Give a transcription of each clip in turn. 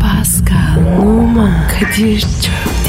Pascal, Oman, Kadir çok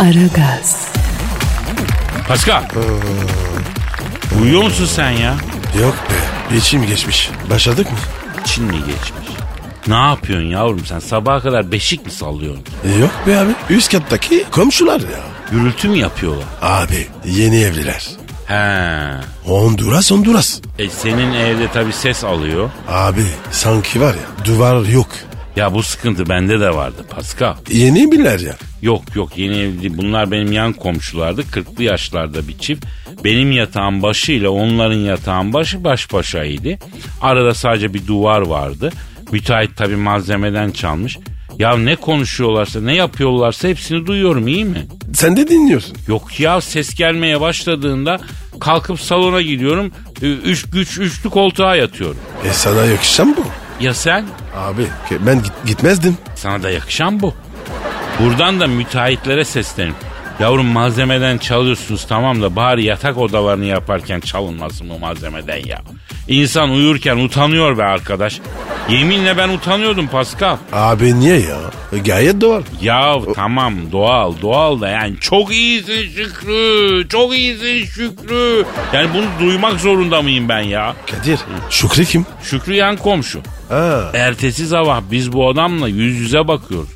Aragaz, Pascal. Uyuyor musun sen ya? Yok be. İçim geçmiş. Başladık mı? Çin mi geçmiş? Ne yapıyorsun yavrum sen? Sabaha kadar beşik mi sallıyorsun? E, yok be abi. Üst kattaki komşular ya. Gürültü mü yapıyorlar? Abi yeni evliler. He. Honduras Honduras. E senin evde tabii ses alıyor. Abi sanki var ya duvar yok. Ya bu sıkıntı bende de vardı Pascal. Yeni evliler ya. Yok yok yeni evli değil. Bunlar benim yan komşulardı. 40'lı yaşlarda bir çift. Benim yatağın başıyla onların yatağın başı baş başaydı. Arada sadece bir duvar vardı. Müteahhit tabii malzemeden çalmış. Ya ne konuşuyorlarsa ne yapıyorlarsa hepsini duyuyorum iyi mi? Sen de dinliyorsun. Yok ya ses gelmeye başladığında kalkıp salona gidiyorum. Ü- Üç güç üçlü koltuğa yatıyorum. E sana yakışan bu. Ya sen? Abi ke- ben git- gitmezdim. Sana da yakışan bu. Buradan da müteahhitlere seslenin. Yavrum malzemeden çalıyorsunuz tamam da bari yatak odalarını yaparken çalınmasın bu malzemeden ya. İnsan uyurken utanıyor be arkadaş. Yeminle ben utanıyordum Pascal. Abi niye ya? E, Gayet doğal. Ya tamam doğal doğal da yani çok iyisin Şükrü. Çok iyisin Şükrü. Yani bunu duymak zorunda mıyım ben ya? Kadir. Şükrü kim? Şükrü yan komşu. Ha. Ertesi sabah biz bu adamla yüz yüze bakıyoruz.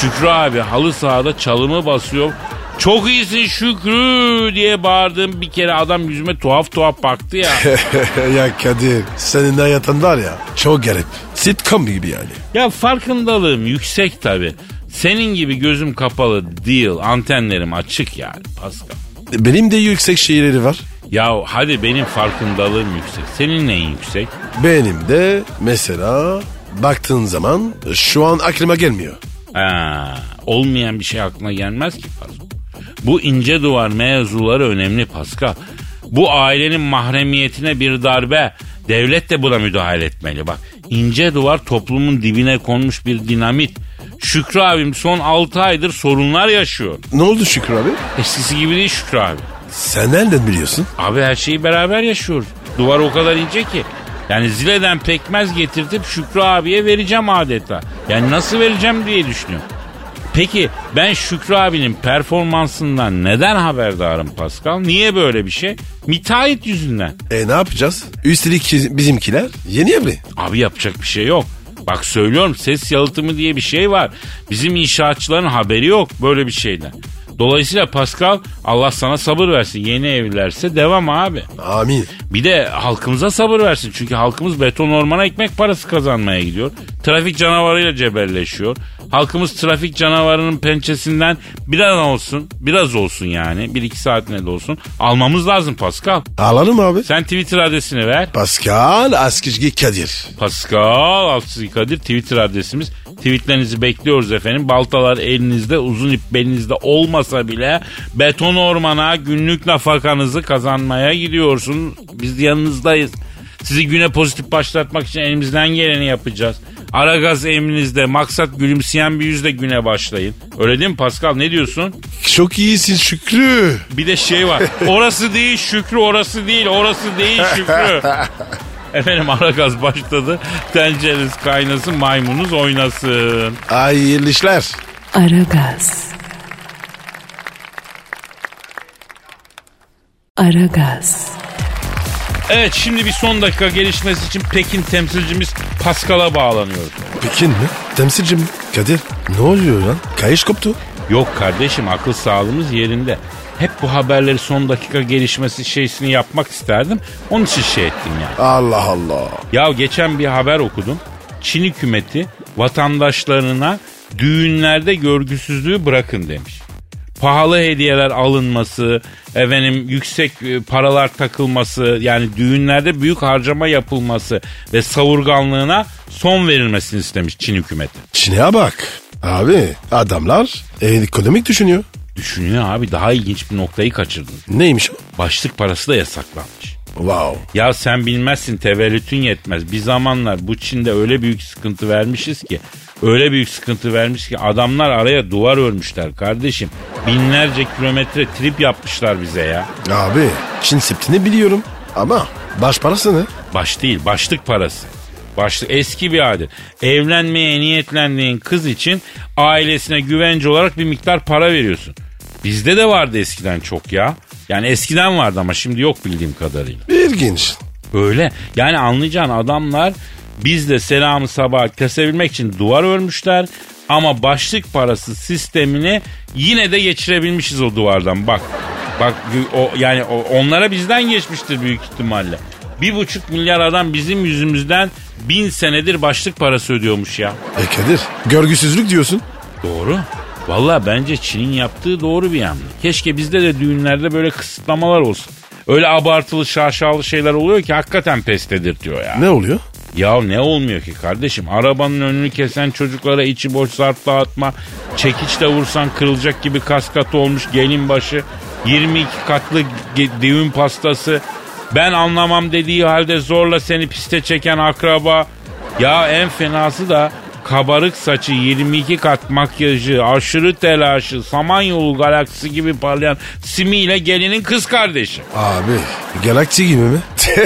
Şükrü abi halı sahada çalımı basıyor. Çok iyisin Şükrü diye bağırdım. Bir kere adam yüzüme tuhaf tuhaf baktı ya. ya Kadir senin hayatın var ya çok garip. Sitcom gibi yani. ya farkındalığım yüksek tabi. Senin gibi gözüm kapalı değil. Antenlerim açık yani Pascal. Benim de yüksek şiirleri var. Ya hadi benim farkındalığım yüksek. Senin neyin yüksek? Benim de mesela baktığın zaman şu an aklıma gelmiyor. Ha, olmayan bir şey aklına gelmez ki Pascal. Bu ince duvar mevzuları önemli Pascal. Bu ailenin mahremiyetine bir darbe. Devlet de buna müdahale etmeli bak. ince duvar toplumun dibine konmuş bir dinamit. Şükrü abim son 6 aydır sorunlar yaşıyor. Ne oldu Şükrü abi? Eskisi gibi değil Şükrü abi. Sen nereden biliyorsun? Abi her şeyi beraber yaşıyoruz. Duvar o kadar ince ki. Yani zileden pekmez getirtip Şükrü abiye vereceğim adeta. Yani nasıl vereceğim diye düşünüyorum. Peki ben Şükrü abinin performansından neden haberdarım Pascal? Niye böyle bir şey? Müteahhit yüzünden. E ne yapacağız? Üstelik ki- bizimkiler yeni evli. Abi yapacak bir şey yok. Bak söylüyorum ses yalıtımı diye bir şey var. Bizim inşaatçıların haberi yok böyle bir şeyden. Dolayısıyla Pascal Allah sana sabır versin. Yeni evlilerse devam abi. Amin. Bir de halkımıza sabır versin. Çünkü halkımız beton ormana ekmek parası kazanmaya gidiyor. Trafik canavarıyla cebelleşiyor. Halkımız trafik canavarının pençesinden biraz olsun, biraz olsun yani. Bir iki saatine de olsun. Almamız lazım Pascal. Alalım abi. Sen Twitter adresini ver. Pascal Askizgi Kadir. Pascal Askizgi Kadir Twitter adresimiz. Tweetlerinizi bekliyoruz efendim. Baltalar elinizde, uzun ip belinizde olmasa bile beton ormana günlük nafakanızı kazanmaya gidiyorsun. Biz yanınızdayız. Sizi güne pozitif başlatmak için elimizden geleni yapacağız. Ara gaz emrinizde maksat gülümseyen bir yüzle güne başlayın. Öyle değil mi Pascal ne diyorsun? Çok iyisin Şükrü. Bir de şey var. Orası değil Şükrü, orası değil, orası değil Şükrü. Efendim Aragaz başladı. Tencereniz kaynasın, maymunuz oynasın. Hayırlı işler. Aragaz. Aragaz, Evet şimdi bir son dakika gelişmesi için Pekin temsilcimiz Pascal'a bağlanıyoruz. Pekin mi? Temsilci mi? Kadir ne oluyor lan? Kayış koptu. Yok kardeşim akıl sağlığımız yerinde. Hep bu haberleri son dakika gelişmesi şeysini yapmak isterdim. Onun için şey ettim yani. Allah Allah. Ya geçen bir haber okudum. Çin hükümeti vatandaşlarına düğünlerde görgüsüzlüğü bırakın demiş. pahalı hediyeler alınması, efendim yüksek e, paralar takılması, yani düğünlerde büyük harcama yapılması ve savurganlığına son verilmesini istemiş Çin hükümeti. Çin'e bak. Abi adamlar e, ekonomik düşünüyor. Düşünüyor abi daha ilginç bir noktayı kaçırdın. Neymiş o? Başlık parası da yasaklanmış. Wow. Ya sen bilmezsin tevellütün yetmez. Bir zamanlar bu Çin'de öyle büyük sıkıntı vermişiz ki. Öyle büyük sıkıntı vermiş ki adamlar araya duvar örmüşler kardeşim. Binlerce kilometre trip yapmışlar bize ya. Abi Çin septini biliyorum ama baş parası ne? Baş değil başlık parası. Başlık eski bir adet. Evlenmeye niyetlendiğin kız için ailesine güvence olarak bir miktar para veriyorsun. Bizde de vardı eskiden çok ya. Yani eskiden vardı ama şimdi yok bildiğim kadarıyla. İlginç. Öyle. Yani anlayacağın adamlar biz de selamı sabah kesebilmek için duvar örmüşler. Ama başlık parası sistemini yine de geçirebilmişiz o duvardan. Bak bak o yani o- onlara bizden geçmiştir büyük ihtimalle. Bir buçuk milyar adam bizim yüzümüzden bin senedir başlık parası ödüyormuş ya. E Kadir görgüsüzlük diyorsun. Doğru. Valla bence Çin'in yaptığı doğru bir hamle. Keşke bizde de düğünlerde böyle kısıtlamalar olsun. Öyle abartılı şaşalı şeyler oluyor ki hakikaten pes dedirtiyor ya. Ne oluyor? Ya ne olmuyor ki kardeşim? Arabanın önünü kesen çocuklara içi boş zarfla atma. Çekiçle vursan kırılacak gibi kaskatı olmuş gelin başı. 22 katlı ge- düğün pastası. Ben anlamam dediği halde zorla seni piste çeken akraba. Ya en fenası da kabarık saçı, 22 kat makyajı, aşırı telaşı, samanyolu galaksisi gibi parlayan simiyle gelinin kız kardeşi. Abi galaksi gibi mi?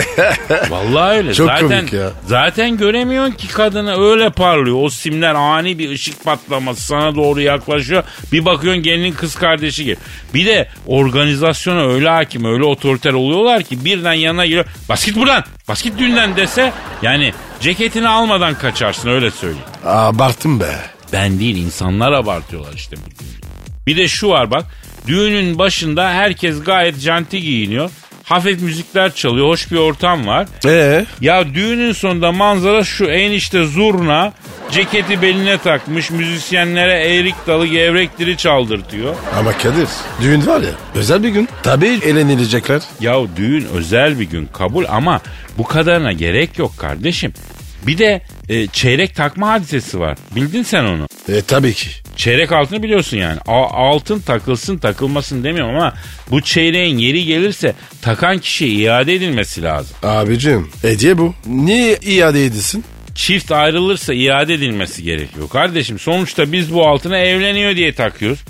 Vallahi öyle. Çok zaten, komik ya. Zaten göremiyorsun ki kadını öyle parlıyor. O simler ani bir ışık patlaması sana doğru yaklaşıyor. Bir bakıyorsun gelinin kız kardeşi gibi. Bir de organizasyona öyle hakim öyle otoriter oluyorlar ki birden yanına giriyor. Bas git buradan bas git dünden dese yani ceketini almadan kaçarsın öyle söyleyeyim. Abarttım be. Ben değil insanlar abartıyorlar işte. bu düğünü. Bir de şu var bak. Düğünün başında herkes gayet janti giyiniyor. Hafif müzikler çalıyor. Hoş bir ortam var. Ee? Ya düğünün sonunda manzara şu enişte zurna ceketi beline takmış müzisyenlere erik dalı gevrek dili çaldırtıyor. Ama Kadir düğün var ya özel bir gün. Tabii eğlenilecekler. Ya düğün özel bir gün kabul ama bu kadarına gerek yok kardeşim. Bir de e, çeyrek takma hadisesi var. Bildin sen onu. E tabii ki. Çeyrek altını biliyorsun yani. A- altın takılsın takılmasın demiyorum ama bu çeyreğin yeri gelirse takan kişiye iade edilmesi lazım. Abicim hediye bu. Niye iade edilsin? çift ayrılırsa iade edilmesi gerekiyor. Kardeşim sonuçta biz bu altına evleniyor diye takıyoruz.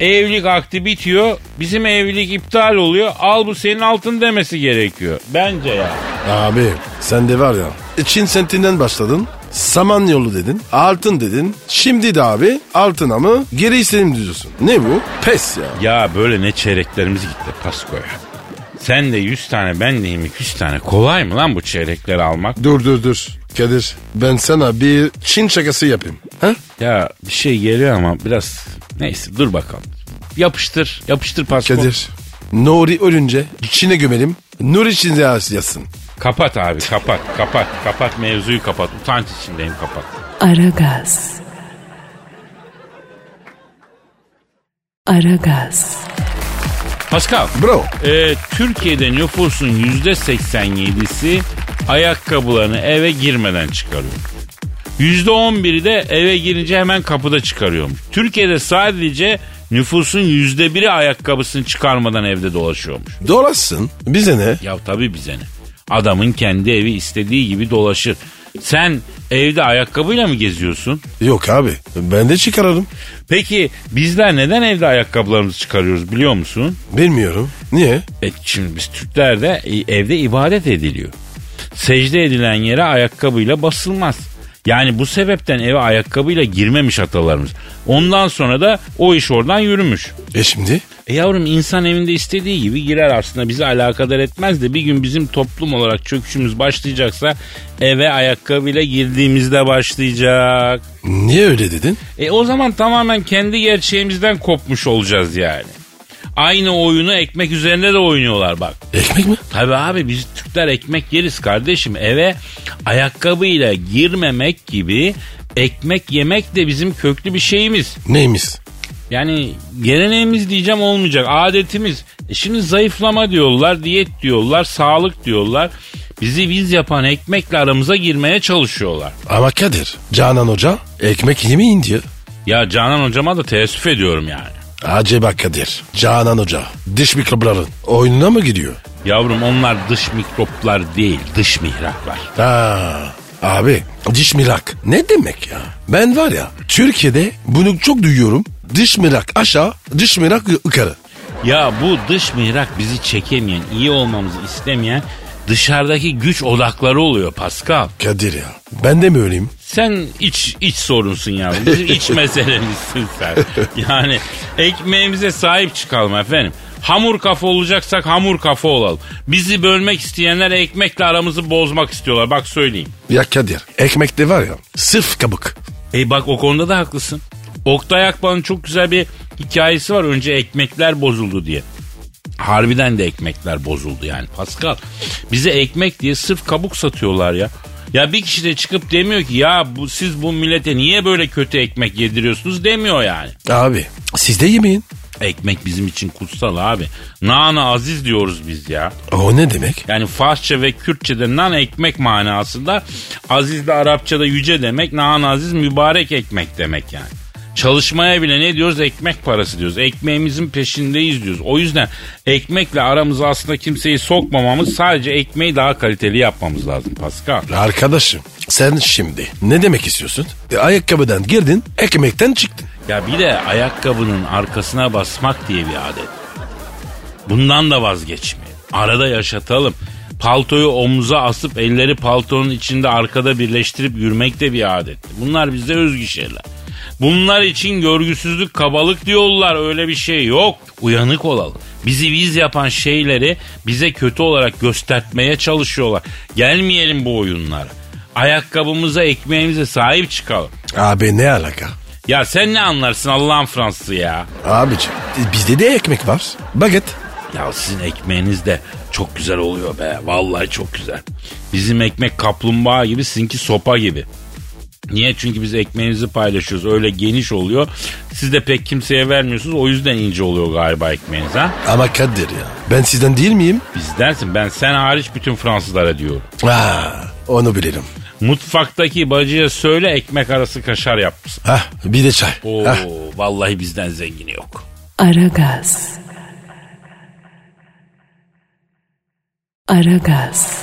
Evlilik akti bitiyor. Bizim evlilik iptal oluyor. Al bu senin altın demesi gerekiyor. Bence ya. Abi sen de var ya Çin sentinden başladın. Samanyolu dedin. Altın dedin. Şimdi de abi altına mı geri istedim diyorsun. Ne bu? Pes ya. Ya böyle ne çeyreklerimiz gitti Pasko'ya. Sen de 100 tane ben de 100 tane. Kolay mı lan bu çeyrekleri almak? Dur dur dur. Kadir ben sana bir Çin şakası yapayım. Ha? Ya bir şey geliyor ama biraz neyse dur bakalım. Yapıştır, yapıştır Pasko. Kadir. Nuri ölünce Çin'e gömelim. Nuri Çin'e yazsın. Kapat abi kapat, kapat, kapat mevzuyu kapat. Utanç içindeyim kapat. Aragaz. Aragaz. Pascal. Bro. Ee, Türkiye'de nüfusun yüzde 87'si ayakkabılarını eve girmeden çıkarıyor. Yüzde 11'i de eve girince hemen kapıda çıkarıyormuş. Türkiye'de sadece nüfusun yüzde biri ayakkabısını çıkarmadan evde dolaşıyormuş. Dolaşsın. Bize ne? Ya tabii bize ne? Adamın kendi evi istediği gibi dolaşır. Sen evde ayakkabıyla mı geziyorsun? Yok abi. Ben de çıkarırım. Peki bizler neden evde ayakkabılarımızı çıkarıyoruz biliyor musun? Bilmiyorum. Niye? E şimdi biz Türklerde e, evde ibadet ediliyor. Secde edilen yere ayakkabıyla basılmaz. Yani bu sebepten eve ayakkabıyla girmemiş atalarımız. Ondan sonra da o iş oradan yürümüş. E şimdi? E yavrum insan evinde istediği gibi girer aslında bizi alakadar etmez de bir gün bizim toplum olarak çöküşümüz başlayacaksa eve ayakkabıyla girdiğimizde başlayacak. Niye öyle dedin? E o zaman tamamen kendi gerçeğimizden kopmuş olacağız yani. Aynı oyunu ekmek üzerinde de oynuyorlar bak. Ekmek mi? Tabii abi biz Türkler ekmek yeriz kardeşim. Eve ayakkabıyla girmemek gibi ekmek yemek de bizim köklü bir şeyimiz. Neymiş? Yani geleneğimiz diyeceğim olmayacak. Adetimiz. E şimdi zayıflama diyorlar, diyet diyorlar, sağlık diyorlar. Bizi biz yapan ekmekle aramıza girmeye çalışıyorlar. Ama Kadir, Canan Hoca ekmek yemeyin diyor. Ya Canan hocama da teessüf ediyorum yani. Acaba Kadir, Canan Hoca diş mikropların oyununa mı gidiyor? Yavrum onlar dış mikroplar değil, dış mihraklar. Ha, abi diş mirak ne demek ya? Ben var ya Türkiye'de bunu çok duyuyorum. Diş mirak aşağı, diş mirak yukarı. Ya bu dış mihrak bizi çekemeyen, iyi olmamızı istemeyen dışarıdaki güç odakları oluyor Pascal. Kadir ya ben de mi öyleyim? Sen iç iç sorunsun yavrum. Bizim iç meselemizsin sen. Yani ekmeğimize sahip çıkalım efendim. Hamur kafa olacaksak hamur kafa olalım. Bizi bölmek isteyenler ekmekle aramızı bozmak istiyorlar. Bak söyleyeyim. Ya Kadir ekmekte var ya sırf kabuk. E bak o konuda da haklısın. Oktay Akbağ'ın çok güzel bir hikayesi var. Önce ekmekler bozuldu diye. Harbiden de ekmekler bozuldu yani Pascal. Bize ekmek diye sırf kabuk satıyorlar ya. Ya bir kişi de çıkıp demiyor ki ya bu, siz bu millete niye böyle kötü ekmek yediriyorsunuz demiyor yani. Abi siz de yemeyin. Ekmek bizim için kutsal abi. Nana aziz diyoruz biz ya. O ne demek? Yani Farsça ve Kürtçe'de nan ekmek manasında aziz de Arapça'da yüce demek. Nan aziz mübarek ekmek demek yani. Çalışmaya bile ne diyoruz? Ekmek parası diyoruz. Ekmeğimizin peşindeyiz diyoruz. O yüzden ekmekle aramıza aslında kimseyi sokmamamız sadece ekmeği daha kaliteli yapmamız lazım Pascal. Arkadaşım sen şimdi ne demek istiyorsun? E, ayakkabıdan girdin ekmekten çıktın. Ya bir de ayakkabının arkasına basmak diye bir adet. Bundan da vazgeçmeyin. Arada yaşatalım. Paltoyu omuza asıp elleri paltonun içinde arkada birleştirip yürümek de bir adet. Bunlar bizde özgü şeyler. Bunlar için görgüsüzlük kabalık diyorlar öyle bir şey yok. Uyanık olalım. Bizi biz yapan şeyleri bize kötü olarak göstertmeye çalışıyorlar. Gelmeyelim bu oyunlara. Ayakkabımıza ekmeğimize sahip çıkalım. Abi ne alaka? Ya sen ne anlarsın Allah'ın Fransızı ya. Abicim e, bizde de ekmek var. Baget. Ya sizin ekmeğiniz de çok güzel oluyor be. Vallahi çok güzel. Bizim ekmek kaplumbağa gibi sizinki sopa gibi. Niye? Çünkü biz ekmeğimizi paylaşıyoruz. Öyle geniş oluyor. Siz de pek kimseye vermiyorsunuz. O yüzden ince oluyor galiba ekmeğiniz ha. Ama Kadir ya ben sizden değil miyim? Bizdensin. Ben sen hariç bütün Fransızlara diyorum. Ha, onu bilirim. Mutfaktaki bacıya söyle ekmek arası kaşar yapsın. Hah bir de çay. Oo, Hah. vallahi bizden zengini yok. Aragaz. Aragaz.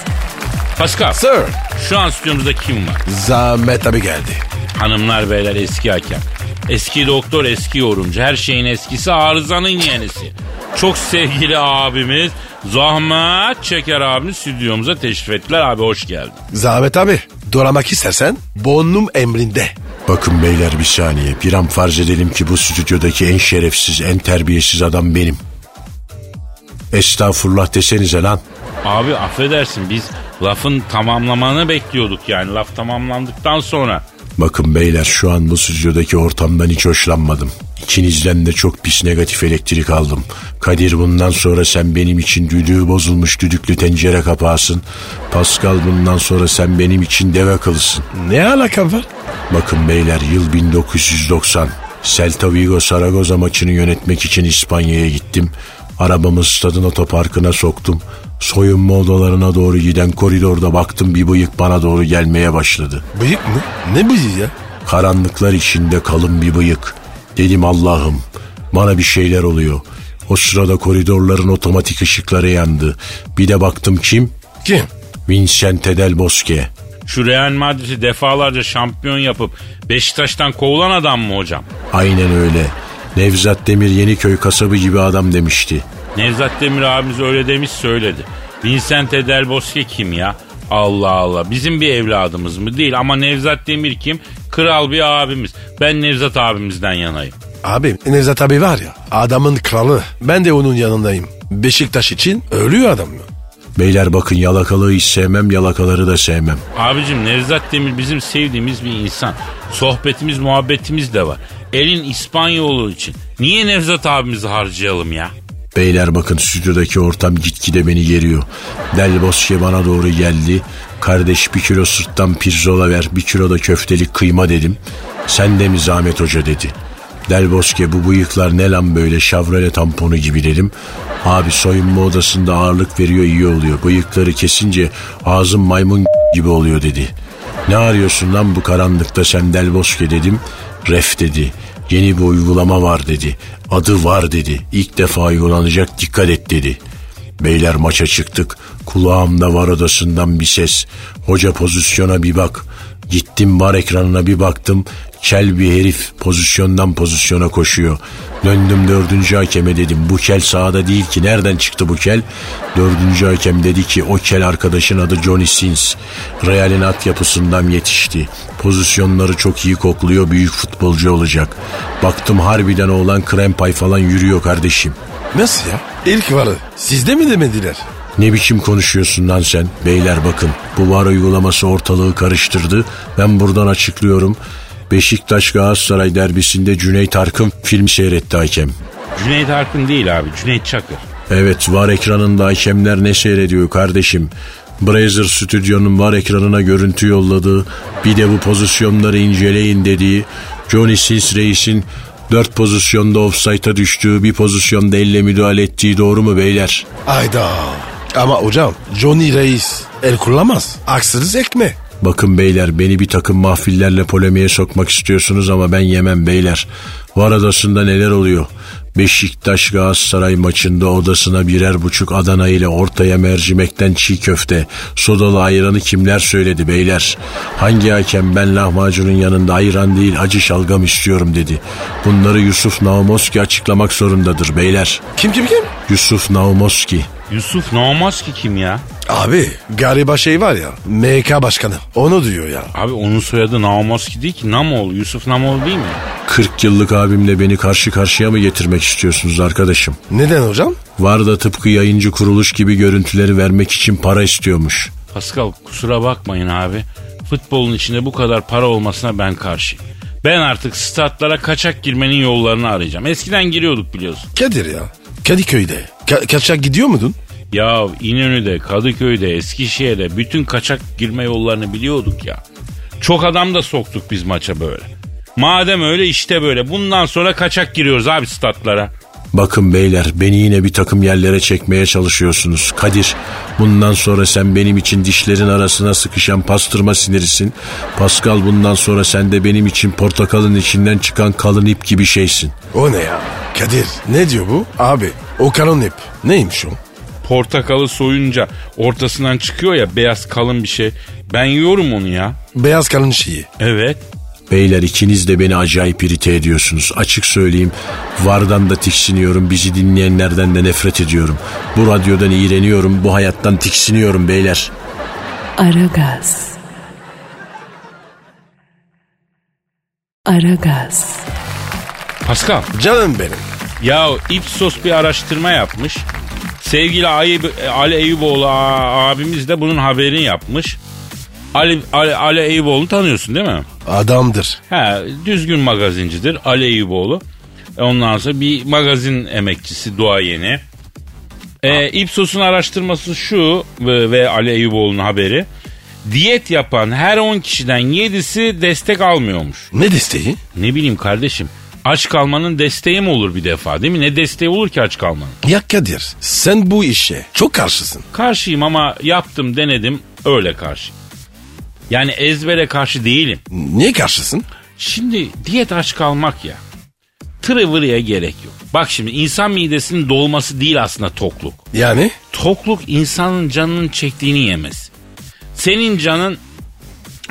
Pascal, Sir. şu an stüdyomuzda kim var? Zahmet abi geldi. Hanımlar beyler eski hakem. Eski doktor eski yorumcu. Her şeyin eskisi arızanın yenisi. Çok sevgili abimiz Zahmet Çeker abimiz stüdyomuza teşrif ettiler. Abi hoş geldin. Zahmet abi doğramak istersen bonum emrinde. Bakın beyler bir saniye. Bir an farz edelim ki bu stüdyodaki en şerefsiz, en terbiyesiz adam benim. Estağfurullah desenize lan. Abi affedersin biz lafın tamamlamanı bekliyorduk yani. Laf tamamlandıktan sonra. Bakın beyler şu an bu stüdyodaki ortamdan hiç hoşlanmadım. İkinizden de çok pis negatif elektrik aldım. Kadir bundan sonra sen benim için düdüğü bozulmuş düdüklü tencere kapağısın. Pascal bundan sonra sen benim için deve kılısın. Ne alakam var? Bakın beyler yıl 1990. Celta Vigo Saragoza maçını yönetmek için İspanya'ya gittim. Arabamı stadın otoparkına soktum. Soyunma odalarına doğru giden koridorda baktım bir bıyık bana doğru gelmeye başladı. Bıyık mı? Ne bıyığı ya? Karanlıklar içinde kalın bir bıyık. Dedim Allah'ım bana bir şeyler oluyor. O sırada koridorların otomatik ışıkları yandı. Bir de baktım kim? Kim? Vincente del Bosque. Şu Real Madrid'i defalarca şampiyon yapıp Beşiktaş'tan kovulan adam mı hocam? Aynen öyle. Nevzat Demir Yeniköy kasabı gibi adam demişti. Nevzat Demir abimiz öyle demiş söyledi. Vincente Del Bosque kim ya? Allah Allah. Bizim bir evladımız mı? Değil ama Nevzat Demir kim? Kral bir abimiz. Ben Nevzat abimizden yanayım. Abi Nevzat abi var ya adamın kralı. Ben de onun yanındayım. Beşiktaş için ölüyor adam mı? Beyler bakın yalakalığı hiç sevmem, yalakaları da sevmem. Abicim Nevzat Demir bizim sevdiğimiz bir insan. Sohbetimiz, muhabbetimiz de var. Elin İspanyolu için. Niye Nevzat abimizi harcayalım ya? Beyler bakın stüdyodaki ortam gitgide beni geriyor. Del Bosque bana doğru geldi. Kardeş bir kilo sırttan pirzola ver, bir kilo da köftelik kıyma dedim. Sen de mi zahmet hoca dedi. Del Bosque bu bıyıklar ne lan böyle şavrele tamponu gibi dedim. Abi soyunma odasında ağırlık veriyor iyi oluyor. Bıyıkları kesince ağzım maymun gibi oluyor dedi. Ne arıyorsun lan bu karanlıkta sen Del Bosque dedim. Ref dedi. Yeni bir uygulama var dedi. Adı var dedi. İlk defa uygulanacak dikkat et dedi. Beyler maça çıktık. Kulağımda var odasından bir ses. Hoca pozisyona bir bak. Gittim var ekranına bir baktım. Kel bir herif pozisyondan pozisyona koşuyor. Döndüm dördüncü hakeme dedim. Bu kel sahada değil ki. Nereden çıktı bu kel? Dördüncü hakem dedi ki o kel arkadaşın adı Johnny Sins. Real'in altyapısından yetişti. Pozisyonları çok iyi kokluyor. Büyük futbolcu olacak. Baktım harbiden oğlan krempay falan yürüyor kardeşim. Nasıl ya? İlk varı. Sizde mi demediler? Ne biçim konuşuyorsun lan sen? Beyler bakın bu var uygulaması ortalığı karıştırdı. Ben buradan açıklıyorum. Beşiktaş Galatasaray derbisinde Cüneyt Arkın film seyretti hakem. Cüneyt Arkın değil abi Cüneyt Çakır. Evet var ekranında hakemler ne seyrediyor kardeşim? Brazzer Stüdyo'nun var ekranına görüntü yolladığı, bir de bu pozisyonları inceleyin dediği, Johnny Sins Reis'in dört pozisyonda offside'a düştüğü, bir pozisyonda elle müdahale ettiği doğru mu beyler? Ayda. Ama hocam Johnny Reis el kullanmaz. Aksınız ekme. Bakın beyler beni bir takım mahfillerle polemiğe sokmak istiyorsunuz ama ben yemem beyler. Var adasında neler oluyor? Beşiktaş Galatasaray maçında odasına birer buçuk Adana ile ortaya mercimekten çiğ köfte, sodalı ayranı kimler söyledi beyler? Hangi hakem ben lahmacunun yanında ayran değil acı şalgam istiyorum dedi. Bunları Yusuf Naumoski açıklamak zorundadır beyler. Kim kim kim? Yusuf Naumoski. Yusuf Naumaz ki kim ya? Abi gariba şey var ya MK başkanı onu diyor ya. Abi onun soyadı Naumoski değil ki Namoğlu. Yusuf Namoğlu değil mi? 40 yıllık abimle beni karşı karşıya mı getirmek istiyorsunuz arkadaşım? Neden hocam? Var da tıpkı yayıncı kuruluş gibi görüntüleri vermek için para istiyormuş. Pascal kusura bakmayın abi. Futbolun içinde bu kadar para olmasına ben karşıyım. Ben artık statlara kaçak girmenin yollarını arayacağım. Eskiden giriyorduk biliyorsun. Kadir ya Kadıköy'de. Ka- kaçak gidiyor muydun? Ya İnönü'de, Kadıköy'de, Eskişehir'de bütün kaçak girme yollarını biliyorduk ya. Çok adam da soktuk biz maça böyle. Madem öyle işte böyle. Bundan sonra kaçak giriyoruz abi statlara. Bakın beyler beni yine bir takım yerlere çekmeye çalışıyorsunuz. Kadir bundan sonra sen benim için dişlerin arasına sıkışan pastırma sinirisin. Pascal bundan sonra sen de benim için portakalın içinden çıkan kalın ip gibi şeysin. O ne ya? Kadir ne diyor bu? Abi o kanon ip. Neymiş o? Portakalı soyunca ortasından çıkıyor ya beyaz kalın bir şey. Ben yiyorum onu ya. Beyaz kalın şeyi. Evet. Beyler ikiniz de beni acayip irite ediyorsunuz. Açık söyleyeyim vardan da tiksiniyorum. Bizi dinleyenlerden de nefret ediyorum. Bu radyodan iğreniyorum. Bu hayattan tiksiniyorum beyler. Aragaz. Aragaz. Pascal. Canım benim. Ya Ipsos bir araştırma yapmış. Sevgili Ayı- Ali Eyüboğlu a- abimiz de bunun haberini yapmış. Ali, Ali, Ali Eyüboğlu'nu tanıyorsun değil mi? Adamdır. He, düzgün magazincidir Ali Eyüboğlu. E, Ondan sonra bir magazin emekçisi duayeni. E, Ipsos'un araştırması şu ve, ve Ali Eyüboğlu'nun haberi. Diyet yapan her 10 kişiden 7'si destek almıyormuş. Ne desteği? Ne bileyim kardeşim aç kalmanın desteği mi olur bir defa değil mi? Ne desteği olur ki aç kalmanın? Ya Kadir sen bu işe çok karşısın. Karşıyım ama yaptım denedim öyle karşı. Yani ezbere karşı değilim. Niye karşısın? Şimdi diyet aç kalmak ya. Tırıvırıya gerek yok. Bak şimdi insan midesinin dolması değil aslında tokluk. Yani? Tokluk insanın canının çektiğini yemesi. Senin canın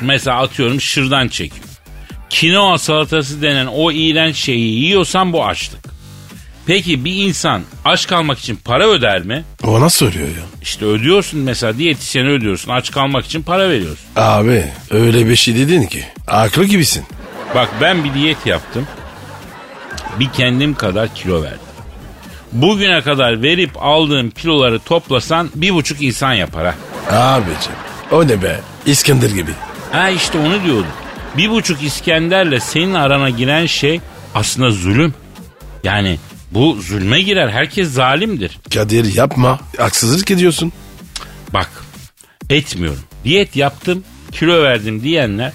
mesela atıyorum şırdan çekiyor. Kinoa salatası denen o iğrenç şeyi yiyorsan bu açlık. Peki bir insan aç kalmak için para öder mi? O nasıl oluyor ya? İşte ödüyorsun mesela diyetisyeni ödüyorsun. Aç kalmak için para veriyorsun. Abi öyle bir şey dedin ki. Aklı gibisin. Bak ben bir diyet yaptım. Bir kendim kadar kilo verdim. Bugüne kadar verip aldığım kiloları toplasan bir buçuk insan yapar ha. Abicim o ne be? İskender gibi. Ha işte onu diyordum. Bir buçuk İskender'le senin arana giren şey aslında zulüm. Yani bu zulme girer. Herkes zalimdir. Kadir yapma. Haksızlık ediyorsun. Bak etmiyorum. Diyet yaptım kilo verdim diyenler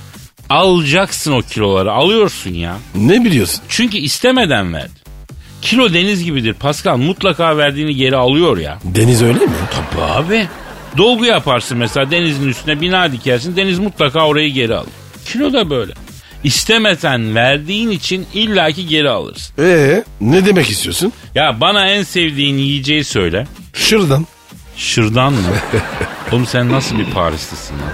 Alacaksın o kiloları alıyorsun ya. Ne biliyorsun? Çünkü istemeden verdi. Kilo deniz gibidir Pascal mutlaka verdiğini geri alıyor ya. Deniz öyle mi? Tabii abi. Dolgu yaparsın mesela denizin üstüne bina dikersin deniz mutlaka orayı geri alır. Kilo da böyle. İstemesen verdiğin için illaki geri alırsın. Ee, ne demek istiyorsun? Ya bana en sevdiğin yiyeceği söyle. Şuradan. Şırdan mı? Oğlum sen nasıl bir Parislisin lan?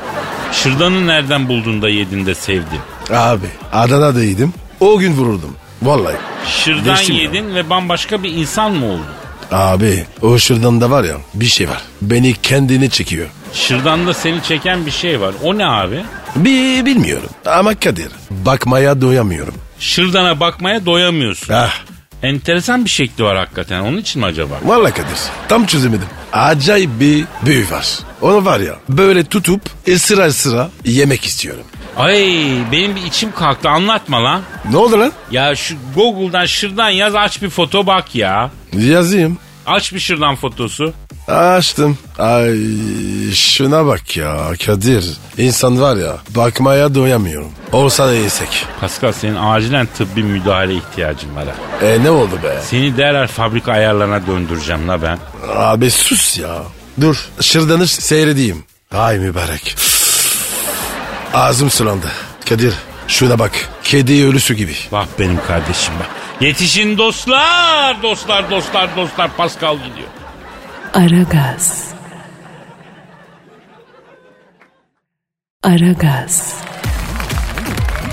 Şırdanı nereden buldun da yedin de sevdin? Abi Adana'da yedim. O gün vururdum. Vallahi. Şırdan Değiştim ya. yedin ve bambaşka bir insan mı oldun? Abi o şırdan da var ya bir şey var. Beni kendine çekiyor. Şırdanda seni çeken bir şey var. O ne abi? Bir bilmiyorum ama Kadir bakmaya doyamıyorum. Şırdana bakmaya doyamıyorsun. Ah Enteresan bir şekli var hakikaten. Onun için mi acaba? vallahi Kadir tam çözemedim. Acayip bir büyü var. Onu var ya böyle tutup ısıra ısıra yemek istiyorum. Ay benim bir içim kalktı anlatma lan. Ne oldu lan? Ya şu Google'dan şırdan yaz aç bir foto bak ya. Yazayım. Aç bir şırdan fotosu. Açtım. Ay şuna bak ya Kadir. İnsan var ya bakmaya doyamıyorum. Olsa da yesek. Pascal senin acilen tıbbi müdahale ihtiyacın var ha. E ne oldu be? Seni derler fabrika ayarlarına döndüreceğim la ben. Abi sus ya. Dur şırdanı seyredeyim. Ay mübarek. Ağzım sulandı. Kadir şuna bak. Kedi ölüsü gibi. Bak benim kardeşim bak. Yetişin dostlar, dostlar, dostlar, dostlar. Pascal gidiyor. Aragaz. Aragaz.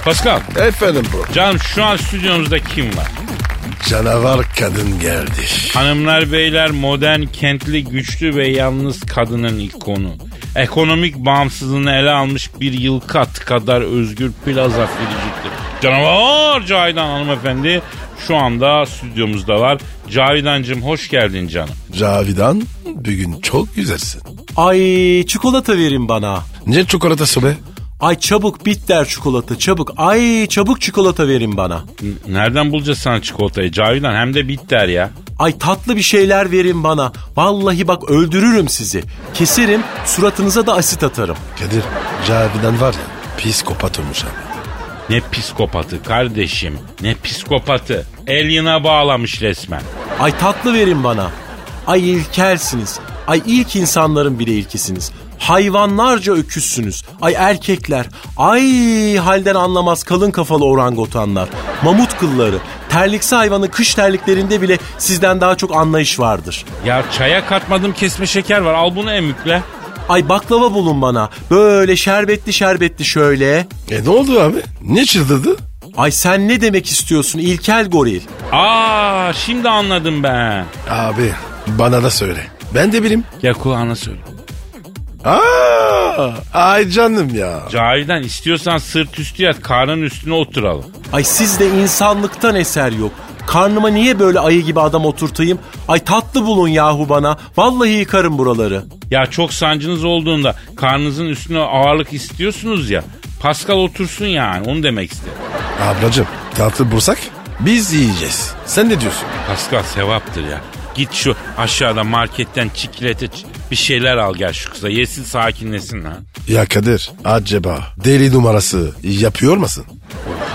Pascal, Efendim bu. canım şu an stüdyomuzda kim var? Canavar kadın geldi. Hanımlar, beyler, modern, kentli, güçlü ve yalnız kadının ikonu. Ekonomik bağımsızlığını ele almış bir yıl kat kadar özgür plaza firiciktir. Canavar Cavidan hanımefendi şu anda stüdyomuzda var. Cavidancım hoş geldin canım. Cavidan bugün çok güzelsin. Ay çikolata verin bana. Ne çikolatası be? Ay çabuk bitter çikolata çabuk. Ay çabuk çikolata verin bana. Nereden bulacağız sana çikolatayı Cavidan? Hem de bitter ya. Ay tatlı bir şeyler verin bana. Vallahi bak öldürürüm sizi. Keserim suratınıza da asit atarım. Kadir Cavidan var ya psikopat olmuş abi. Ne psikopatı kardeşim. Ne psikopatı. Alien'a bağlamış resmen. Ay tatlı verin bana. Ay ilkelsiniz. Ay ilk insanların bile ilkisiniz. Hayvanlarca öküzsünüz. Ay erkekler. Ay halden anlamaz kalın kafalı orangotanlar. Mamut kılları. Terliksi hayvanın kış terliklerinde bile sizden daha çok anlayış vardır. Ya çaya katmadım kesme şeker var. Al bunu emükle. Ay baklava bulun bana. Böyle şerbetli şerbetli şöyle. E ne oldu abi? Niye çıldırdı? Ay sen ne demek istiyorsun ilkel goril? Aa şimdi anladım ben. Abi bana da söyle. Ben de bilim. Ya kulağına söyle. Aa, ay canım ya. Cavidan istiyorsan sırt üstü yat karnın üstüne oturalım. Ay sizde insanlıktan eser yok. Karnıma niye böyle ayı gibi adam oturtayım? Ay tatlı bulun yahu bana. Vallahi yıkarım buraları. Ya çok sancınız olduğunda karnınızın üstüne ağırlık istiyorsunuz ya. Pascal otursun yani onu demek istedim. Ablacım tatlı bursak biz yiyeceğiz. Sen ne diyorsun? Pascal sevaptır ya. Git şu aşağıda marketten çikolata ç- bir şeyler al gel şu kıza. Yesin sakinlesin lan. Ya Kadir acaba deli numarası yapıyor musun?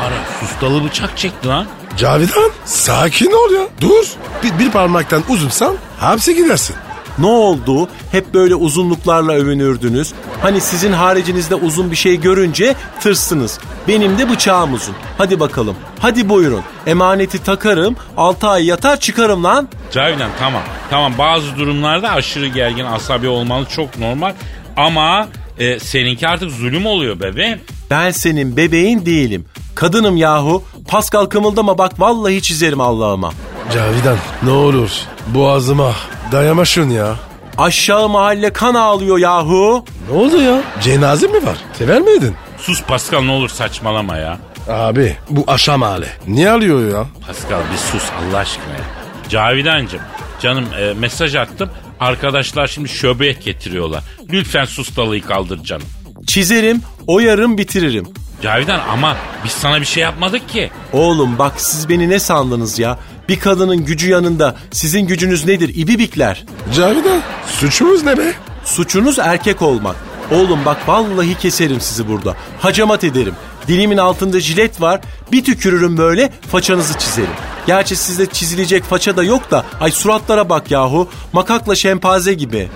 Ara sustalı bıçak çekti lan. Cavidan sakin ol ya dur. Bir, bir parmaktan uzunsan hapse gidersin. Ne oldu? Hep böyle uzunluklarla övünürdünüz. Hani sizin haricinizde uzun bir şey görünce tırsınız. Benim de bıçağım uzun. Hadi bakalım. Hadi buyurun. Emaneti takarım. 6 ay yatar çıkarım lan. Cavidan tamam. Tamam bazı durumlarda aşırı gergin asabi olmanız çok normal. Ama e, seninki artık zulüm oluyor bebeğim. Ben senin bebeğin değilim. Kadınım yahu. Pascal kımıldama bak vallahi çizerim Allah'ıma. Cavidan ne olur boğazıma dayamaşın ya. Aşağı mahalle kan ağlıyor yahu. Ne oldu ya? Cenaze mi var? Sever miydin? Sus Pascal ne olur saçmalama ya. Abi bu aşam hali. Niye alıyor ya? Pascal bir sus Allah aşkına ya. Cavidancım canım e, mesaj attım. Arkadaşlar şimdi şöbek getiriyorlar. Lütfen sus dalıyı kaldır canım. Çizerim, oyarım, bitiririm. Cavidan ama biz sana bir şey yapmadık ki. Oğlum bak siz beni ne sandınız ya? Bir kadının gücü yanında sizin gücünüz nedir? İbibikler. Cavidan suçumuz ne be? Suçunuz erkek olmak. Oğlum bak vallahi keserim sizi burada. Hacamat ederim. Dilimin altında jilet var. Bir tükürürüm böyle façanızı çizerim. Gerçi sizde çizilecek faça da yok da ay suratlara bak yahu. Makakla şempaze gibi.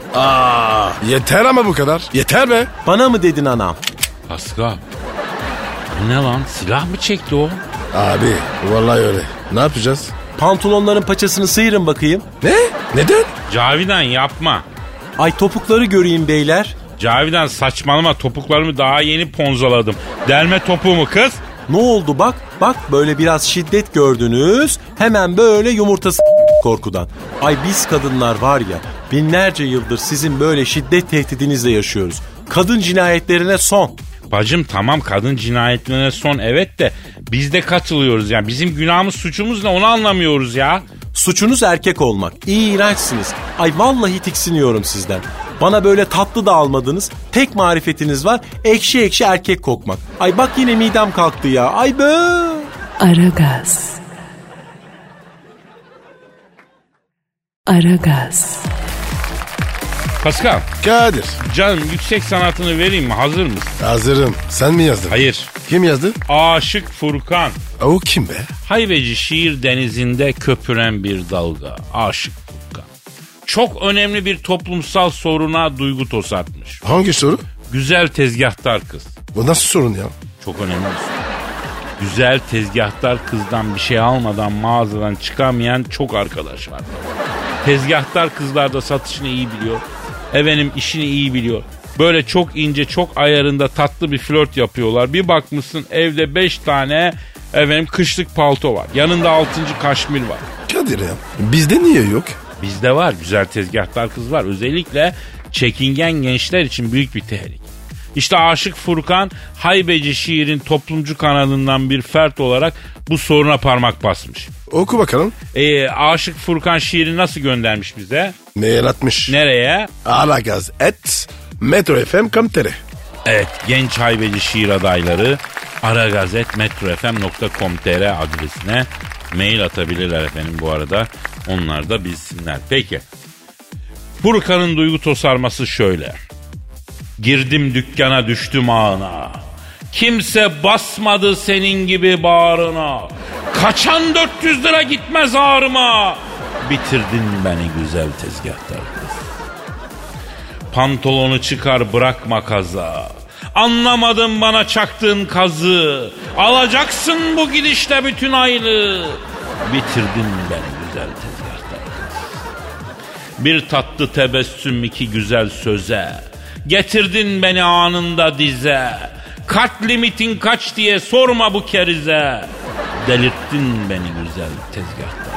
Yeter ama bu kadar. Yeter be. Bana mı dedin anam? Pascal. Bu ne lan? Silah mı çekti o? Abi vallahi öyle. Ne yapacağız? Pantolonların paçasını sıyırın bakayım. Ne? Neden? Cavidan yapma. Ay topukları göreyim beyler. Cavidan saçmalama topuklarımı daha yeni ponzaladım. Delme topuğumu kız. Ne oldu bak? Bak böyle biraz şiddet gördünüz. Hemen böyle yumurtası korkudan. Ay biz kadınlar var ya binlerce yıldır sizin böyle şiddet tehdidinizle yaşıyoruz. Kadın cinayetlerine son. Bacım tamam kadın cinayetlerine son evet de biz de katılıyoruz yani. Bizim günahımız suçumuz ne onu anlamıyoruz ya. Suçunuz erkek olmak. İğrençsiniz. Ay vallahi tiksiniyorum sizden. Bana böyle tatlı da almadınız. Tek marifetiniz var. Ekşi ekşi erkek kokmak. Ay bak yine midem kalktı ya. Ay be. Aragaz. Aragaz. Pascal Kadir. canım yüksek sanatını vereyim mi hazır mısın? Hazırım. Sen mi yazdın? Hayır. Kim yazdı? Aşık Furkan. O kim be? Haybeci şiir denizinde köpüren bir dalga. Aşık Furkan. Çok önemli bir toplumsal soruna duygu tosatmış. Hangi soru? Güzel tezgahtar kız. Bu nasıl sorun ya? Çok önemli bir soru. Güzel tezgahtar kızdan bir şey almadan mağazadan çıkamayan çok arkadaş var. Tezgahtar kızlar da satışını iyi biliyor. Efendim işini iyi biliyor. Böyle çok ince çok ayarında tatlı bir flört yapıyorlar. Bir bakmışsın evde 5 tane efendim kışlık palto var. Yanında 6. kaşmir var. Kadir ya. Bizde niye yok? Bizde var güzel tezgahtar kız var. Özellikle çekingen gençler için büyük bir tehlike. İşte Aşık Furkan Haybeci şiirin toplumcu kanalından bir fert olarak bu soruna parmak basmış. Oku bakalım. Ee, Aşık Furkan şiiri nasıl göndermiş bize? Mail atmış. Nereye? Aragaz et Metro FM Kamtere. Evet genç haybeci şiir adayları aragazetmetrofm.com.tr adresine mail atabilirler efendim bu arada. Onlar da bilsinler. Peki. Furkan'ın duygu tosarması şöyle. Girdim dükkana düştüm ağına. Kimse basmadı senin gibi bağrına. Kaçan 400 lira gitmez ağrıma. Bitirdin beni güzel tezgahtar kız. Pantolonu çıkar bırakma kaza. Anlamadım bana çaktığın kazı. Alacaksın bu gidişle bütün aylığı. Bitirdin beni güzel tezgahtar kız. Bir tatlı tebessüm iki güzel söze. Getirdin beni anında dize. Kat limitin kaç diye sorma bu kerize. Delirttin beni güzel tezgahtar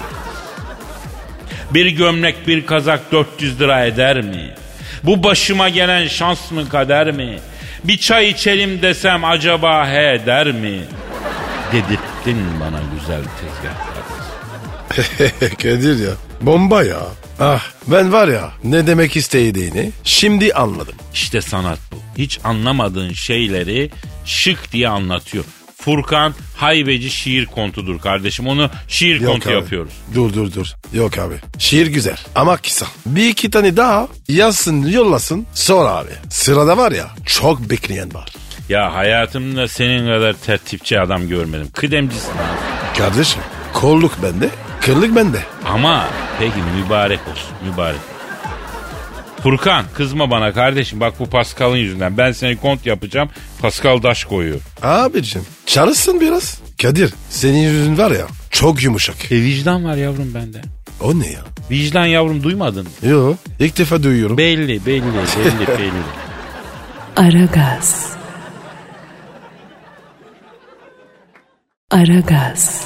bir gömlek bir kazak 400 lira eder mi? Bu başıma gelen şans mı kader mi? Bir çay içelim desem acaba he eder mi? Dedirttin bana güzel tezgahlar. Kadir ya. Bomba ya. Ah ben var ya ne demek istediğini şimdi anladım. İşte sanat bu. Hiç anlamadığın şeyleri şık diye anlatıyor. Furkan Haybeci şiir kontudur kardeşim. Onu şiir kontu abi. yapıyoruz. Dur dur dur. Yok abi. Şiir güzel ama kısa. Bir iki tane daha yazsın yollasın sonra abi. Sırada var ya çok bekleyen var. Ya hayatımda senin kadar tertipçi adam görmedim. Kıdemcisin abi. Kardeşim kolluk bende kırlık bende. Ama peki mübarek olsun mübarek. Furkan kızma bana kardeşim bak bu Pascal'ın yüzünden. Ben seni kont yapacağım. Pascal daş koyuyor. Abicim çalışsın biraz. Kadir senin yüzün var ya çok yumuşak. E vicdan var yavrum bende. O ne ya? Vicdan yavrum duymadın mı? Yo ilk defa duyuyorum. Belli belli belli belli. Aragaz. Aragaz.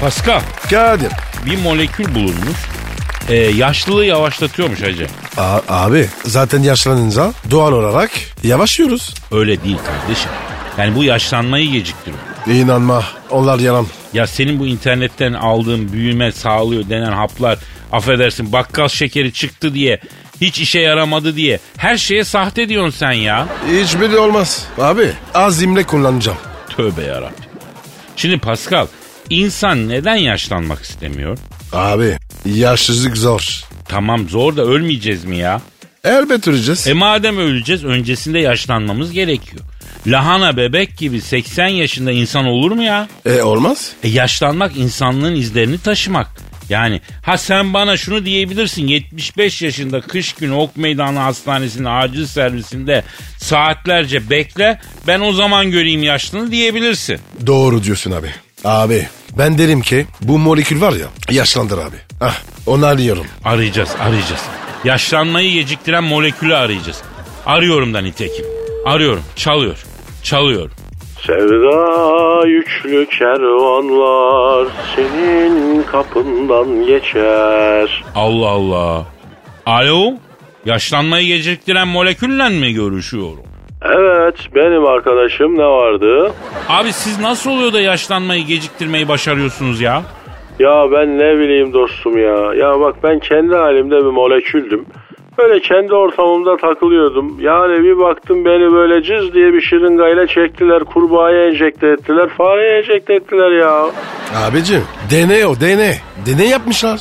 Pascal Kadir. bir molekül bulunmuş. E, yaşlılığı yavaşlatıyormuş hacı. A- abi zaten yaşlanınca doğal olarak yavaşlıyoruz. Öyle değil kardeşim. Yani bu yaşlanmayı geciktiriyor. İnanma onlar yalan. Ya senin bu internetten aldığın büyüme sağlıyor denen haplar affedersin bakkal şekeri çıktı diye hiç işe yaramadı diye her şeye sahte diyorsun sen ya. Hiçbiri olmaz. Abi azimle kullanacağım. Tövbe yarabbim. Şimdi Pascal insan neden yaşlanmak istemiyor? Abi yaşsızlık zor. Tamam zor da ölmeyeceğiz mi ya? Elbet öleceğiz. E madem öleceğiz öncesinde yaşlanmamız gerekiyor. Lahana bebek gibi 80 yaşında insan olur mu ya? E olmaz. E yaşlanmak insanlığın izlerini taşımak. Yani ha sen bana şunu diyebilirsin 75 yaşında kış günü Ok Meydanı Hastanesi'nin acil servisinde saatlerce bekle ben o zaman göreyim yaşlını diyebilirsin. Doğru diyorsun abi. Abi ben derim ki bu molekül var ya yaşlandır abi. Ah onu arıyorum. Arayacağız arayacağız. Yaşlanmayı geciktiren molekülü arayacağız. Arıyorum da nitekim. Arıyorum çalıyor çalıyor. Sevda yüklü kervanlar senin kapından geçer. Allah Allah. Alo yaşlanmayı geciktiren molekülle mi görüşüyorum? Evet benim arkadaşım ne vardı? Abi siz nasıl oluyor da yaşlanmayı geciktirmeyi başarıyorsunuz ya? Ya ben ne bileyim dostum ya. Ya bak ben kendi halimde bir moleküldüm. Böyle kendi ortamımda takılıyordum. Yani bir baktım beni böyle cız diye bir şırıngayla çektiler. Kurbağaya enjekte ettiler. Fareye enjekte ettiler ya. Abicim deney o deney. Deney yapmışlar.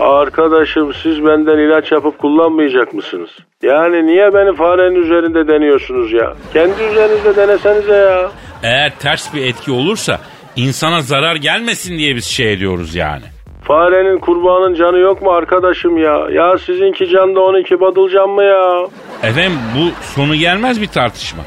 Arkadaşım siz benden ilaç yapıp kullanmayacak mısınız? Yani niye beni farenin üzerinde deniyorsunuz ya? Kendi üzerinizde denesenize ya. Eğer ters bir etki olursa insana zarar gelmesin diye biz şey ediyoruz yani. Farenin kurbanın canı yok mu arkadaşım ya? Ya sizinki can da onunki badıl can mı ya? Efendim bu sonu gelmez bir tartışma.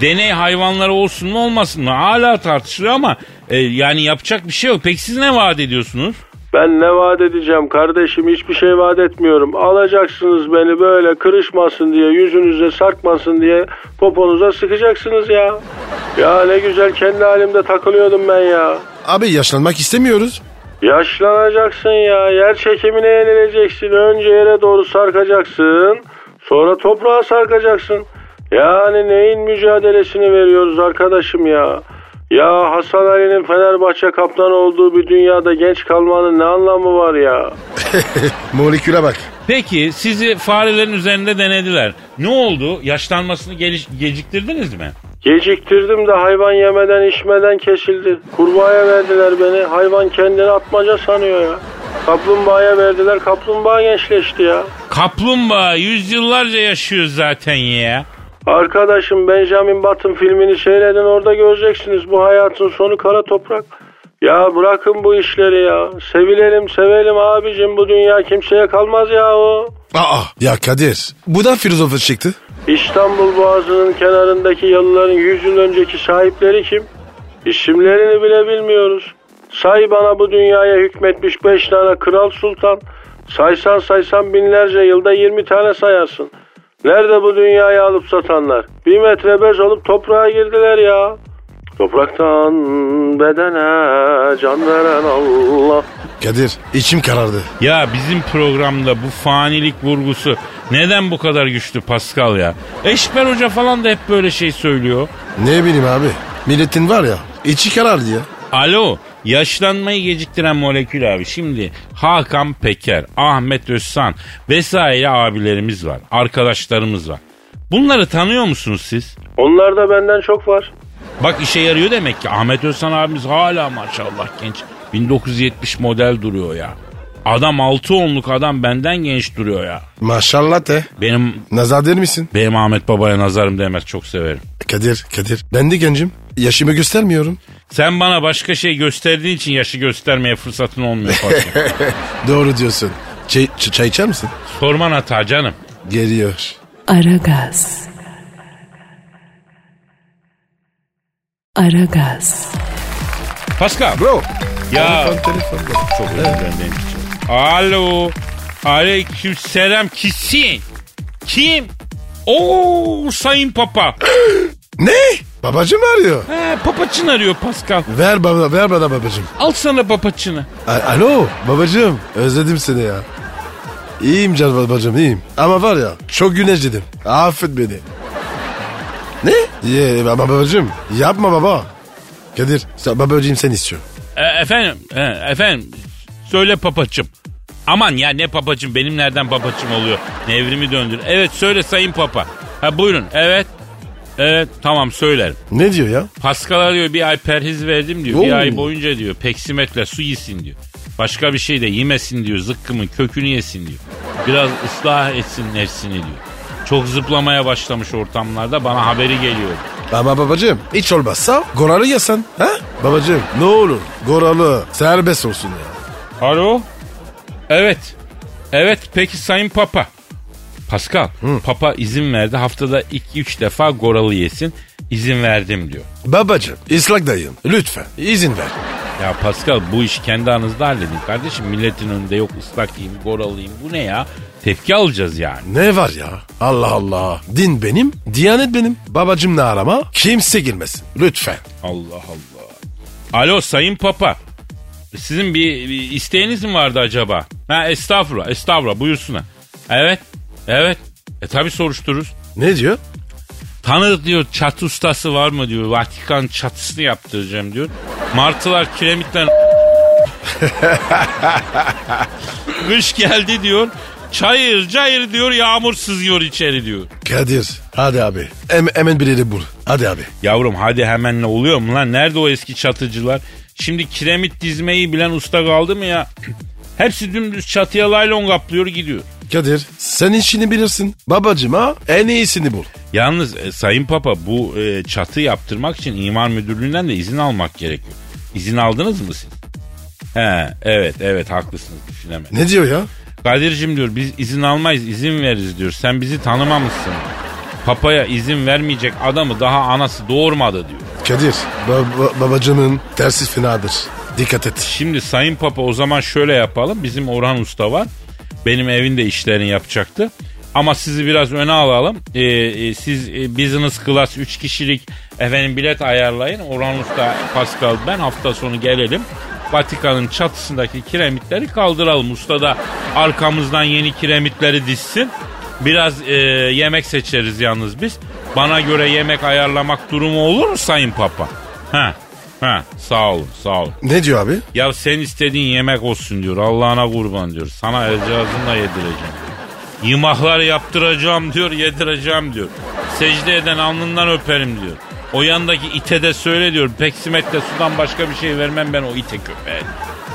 Deney hayvanları olsun mu olmasın mı hala tartışılıyor ama e, yani yapacak bir şey yok. Peki siz ne vaat ediyorsunuz? Ben ne vaat edeceğim kardeşim hiçbir şey vaat etmiyorum. Alacaksınız beni böyle kırışmasın diye yüzünüze sarkmasın diye poponuza sıkacaksınız ya. Ya ne güzel kendi halimde takılıyordum ben ya. Abi yaşlanmak istemiyoruz. Yaşlanacaksın ya. Yer çekimine yenileceksin. Önce yere doğru sarkacaksın. Sonra toprağa sarkacaksın. Yani neyin mücadelesini veriyoruz arkadaşım ya? Ya Hasan Ali'nin Fenerbahçe kaptanı olduğu bir dünyada genç kalmanın ne anlamı var ya? Moleküle bak. Peki sizi farelerin üzerinde denediler. Ne oldu? Yaşlanmasını geliş- geciktirdiniz mi? Geciktirdim de hayvan yemeden içmeden kesildi. Kurbağaya verdiler beni. Hayvan kendini atmaca sanıyor ya. Kaplumbağaya verdiler. Kaplumbağa gençleşti ya. Kaplumbağa yüzyıllarca yaşıyor zaten ya. Arkadaşım Benjamin Button filmini seyredin orada göreceksiniz bu hayatın sonu kara toprak. Ya bırakın bu işleri ya. Sevilelim sevelim abicim bu dünya kimseye kalmaz ya o. Aa ya Kadir bu da filozofa çıktı. İstanbul Boğazı'nın kenarındaki yalıların 100 yıl önceki sahipleri kim? İsimlerini bile bilmiyoruz. Say bana bu dünyaya hükmetmiş 5 tane kral sultan. Saysan saysan binlerce yılda 20 tane sayarsın. Nerede bu dünyayı alıp satanlar? Bir metre bez olup toprağa girdiler ya. Topraktan bedene can veren Allah. Kadir içim karardı. Ya bizim programda bu fanilik vurgusu neden bu kadar güçlü Pascal ya? Eşber Hoca falan da hep böyle şey söylüyor. Ne bileyim abi milletin var ya içi karardı ya. Alo yaşlanmayı geciktiren molekül abi şimdi Hakan Peker, Ahmet Özsan vesaire abilerimiz var, arkadaşlarımız var. Bunları tanıyor musunuz siz? Onlar da benden çok var. Bak işe yarıyor demek ki Ahmet Özsan abimiz hala maşallah genç. 1970 model duruyor ya. Adam 6 onluk adam benden genç duruyor ya. Maşallah de. Benim Nazar der misin? benim Ahmet Baba'ya nazarım değmez çok severim. Kadir Kadir ben de gencim. Yaşımı göstermiyorum. Sen bana başka şey gösterdiğin için yaşı göstermeye fırsatın olmuyor. Fatih. Doğru diyorsun. Çay, ç- çay içer misin? Sorman hata canım. Geliyor. Aragaz. Aragaz. Pascal. Bro. Ya. Telefon telefon. Çok özür dilerim benim için. Alo. Aleyküm selam. Kisin. Kim? Oo Sayın Papa. Ne? Babacım arıyor. He, papaçın arıyor Pascal. Ver bana ver bana babacım. Al sana papaçını. A- Alo babacım. Özledim seni ya. İyiyim can babacım iyiyim. Ama var ya çok güneşledim. Affet beni. Ne? Ye, ama babacım yapma baba. Kadir sen- babacığım sen istiyor. E, efendim. e, efendim. Söyle papaçım. Aman ya ne papaçım benim nereden papaçım oluyor. Nevrimi döndür. Evet söyle Sayın Papa. Ha buyurun. Evet. Evet tamam söylerim. Ne diyor ya? Pascal diyor bir ay perhiz verdim diyor. Bir Oo. ay boyunca diyor peksimetle su yesin diyor. Başka bir şey de yemesin diyor. Zıkkımın kökünü yesin diyor. Biraz ıslah etsin nefsini diyor. Çok zıplamaya başlamış ortamlarda bana haberi geliyor. Ama babacığım hiç olmazsa goralı yesen. Ha? Babacığım ne olur goralı serbest olsun ya. Alo. Evet. Evet peki Sayın Papa. Pascal. Papa izin verdi haftada 2-3 defa goralı yesin. İzin verdim diyor. Babacığım ıslak dayım lütfen izin ver. Ya Pascal bu iş kendi aranızda halledin kardeşim. Milletin önünde yok ıslak yiyeyim, goralıyım. Bu ne ya? Tepki alacağız yani. Ne var ya? Allah Allah. Din benim, diyanet benim. Babacım ne arama? Kimse girmesin. Lütfen. Allah Allah. Alo Sayın Papa. Sizin bir, bir isteğiniz mi vardı acaba? Ha estağfurullah, estağfurullah buyursuna. Evet, evet. E tabi soruştururuz. Ne diyor? Tanır diyor çat ustası var mı diyor. Vatikan çatısını yaptıracağım diyor. Martılar kiremitler... Kış geldi diyor. Çayır çayır diyor yağmur sızıyor içeri diyor. Kadir. Hadi abi. Hem, hemen birini bul. Hadi abi. Yavrum hadi hemen ne oluyor mu lan? Nerede o eski çatıcılar? Şimdi kiremit dizmeyi bilen usta kaldı mı ya? Hepsi dümdüz çatıya laylon kaplıyor gidiyor. Kadir. Sen işini bilirsin. Babacım ha en iyisini bul. Yalnız e, Sayın Papa bu e, çatı yaptırmak için imar müdürlüğünden de izin almak gerekiyor. İzin aldınız mı siz? He evet evet haklısınız düşünemedim. Ne diyor ya? Kadir'cim diyor biz izin almayız izin veririz diyor. Sen bizi tanımamışsın. Papaya izin vermeyecek adamı daha anası doğurmadı diyor. Kadir. ba- ba- babacımın tersi finadır. Dikkat et. Şimdi Sayın Papa o zaman şöyle yapalım. Bizim Orhan Usta var. Benim evin de işlerini yapacaktı. Ama sizi biraz öne alalım. Ee, e, siz e, business class 3 kişilik efendim bilet ayarlayın. Orhan Usta, Pascal ben hafta sonu gelelim. Vatikan'ın çatısındaki kiremitleri kaldıralım. Usta da arkamızdan yeni kiremitleri dizsin. Biraz e, yemek seçeriz yalnız biz. Bana göre yemek ayarlamak durumu olur mu Sayın Papa? Ha, ha, sağ olun, sağ olun. Ne diyor abi? Ya sen istediğin yemek olsun diyor. Allah'ına kurban diyor. Sana el cihazımla yedireceğim. Yımaklar yaptıracağım diyor, yedireceğim diyor. Secde eden alnından öperim diyor. O yandaki ite de söyle diyor. Peksimetle sudan başka bir şey vermem ben o ite köpeğe.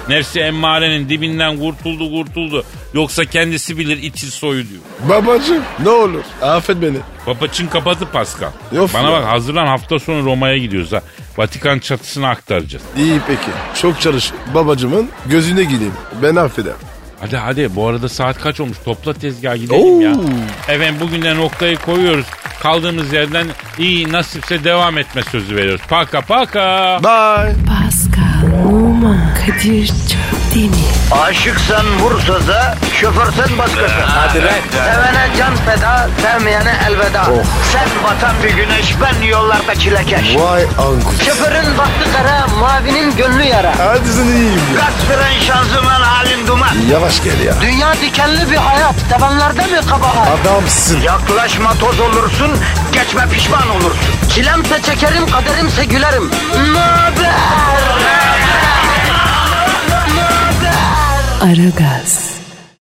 Nefsi emmarenin dibinden kurtuldu kurtuldu. Yoksa kendisi bilir iti soyu diyor. Babacım ne olur affet beni. Papaçın kapatı Pascal. Yok Bana ya. bak hazırlan hafta sonu Roma'ya gidiyoruz ha. Vatikan çatısına aktaracağız. İyi peki. Çok çalış. Babacımın gözüne gireyim. Ben affeder. Hadi hadi bu arada saat kaç olmuş topla tezgah gidelim ya. Efendim bugün de noktayı koyuyoruz. Kaldığımız yerden iyi nasipse devam etme sözü veriyoruz. Paka paka. Bye. Pascal, Oman, Kadir çok değil mi? Aşıksan vursa da şoförsen başkasın. Hadi Sevene can feda, sevmeyene elveda. Sen batan bir güneş, ben yollarda çilekeş. Vay anku. Şoförün baktı kara, mavinin gönlü yara. Hadi sen iyiyim ya. Kasperen şanzıman halin duman. Yavaş gel ya. Dünya dikenli bir hayat, sevenlerde mi kabahar? Adamsın. Yaklaşma toz olursun, geçme pişman olursun. Çilemse çekerim, kaderimse gülerim. Möber! Aragaz.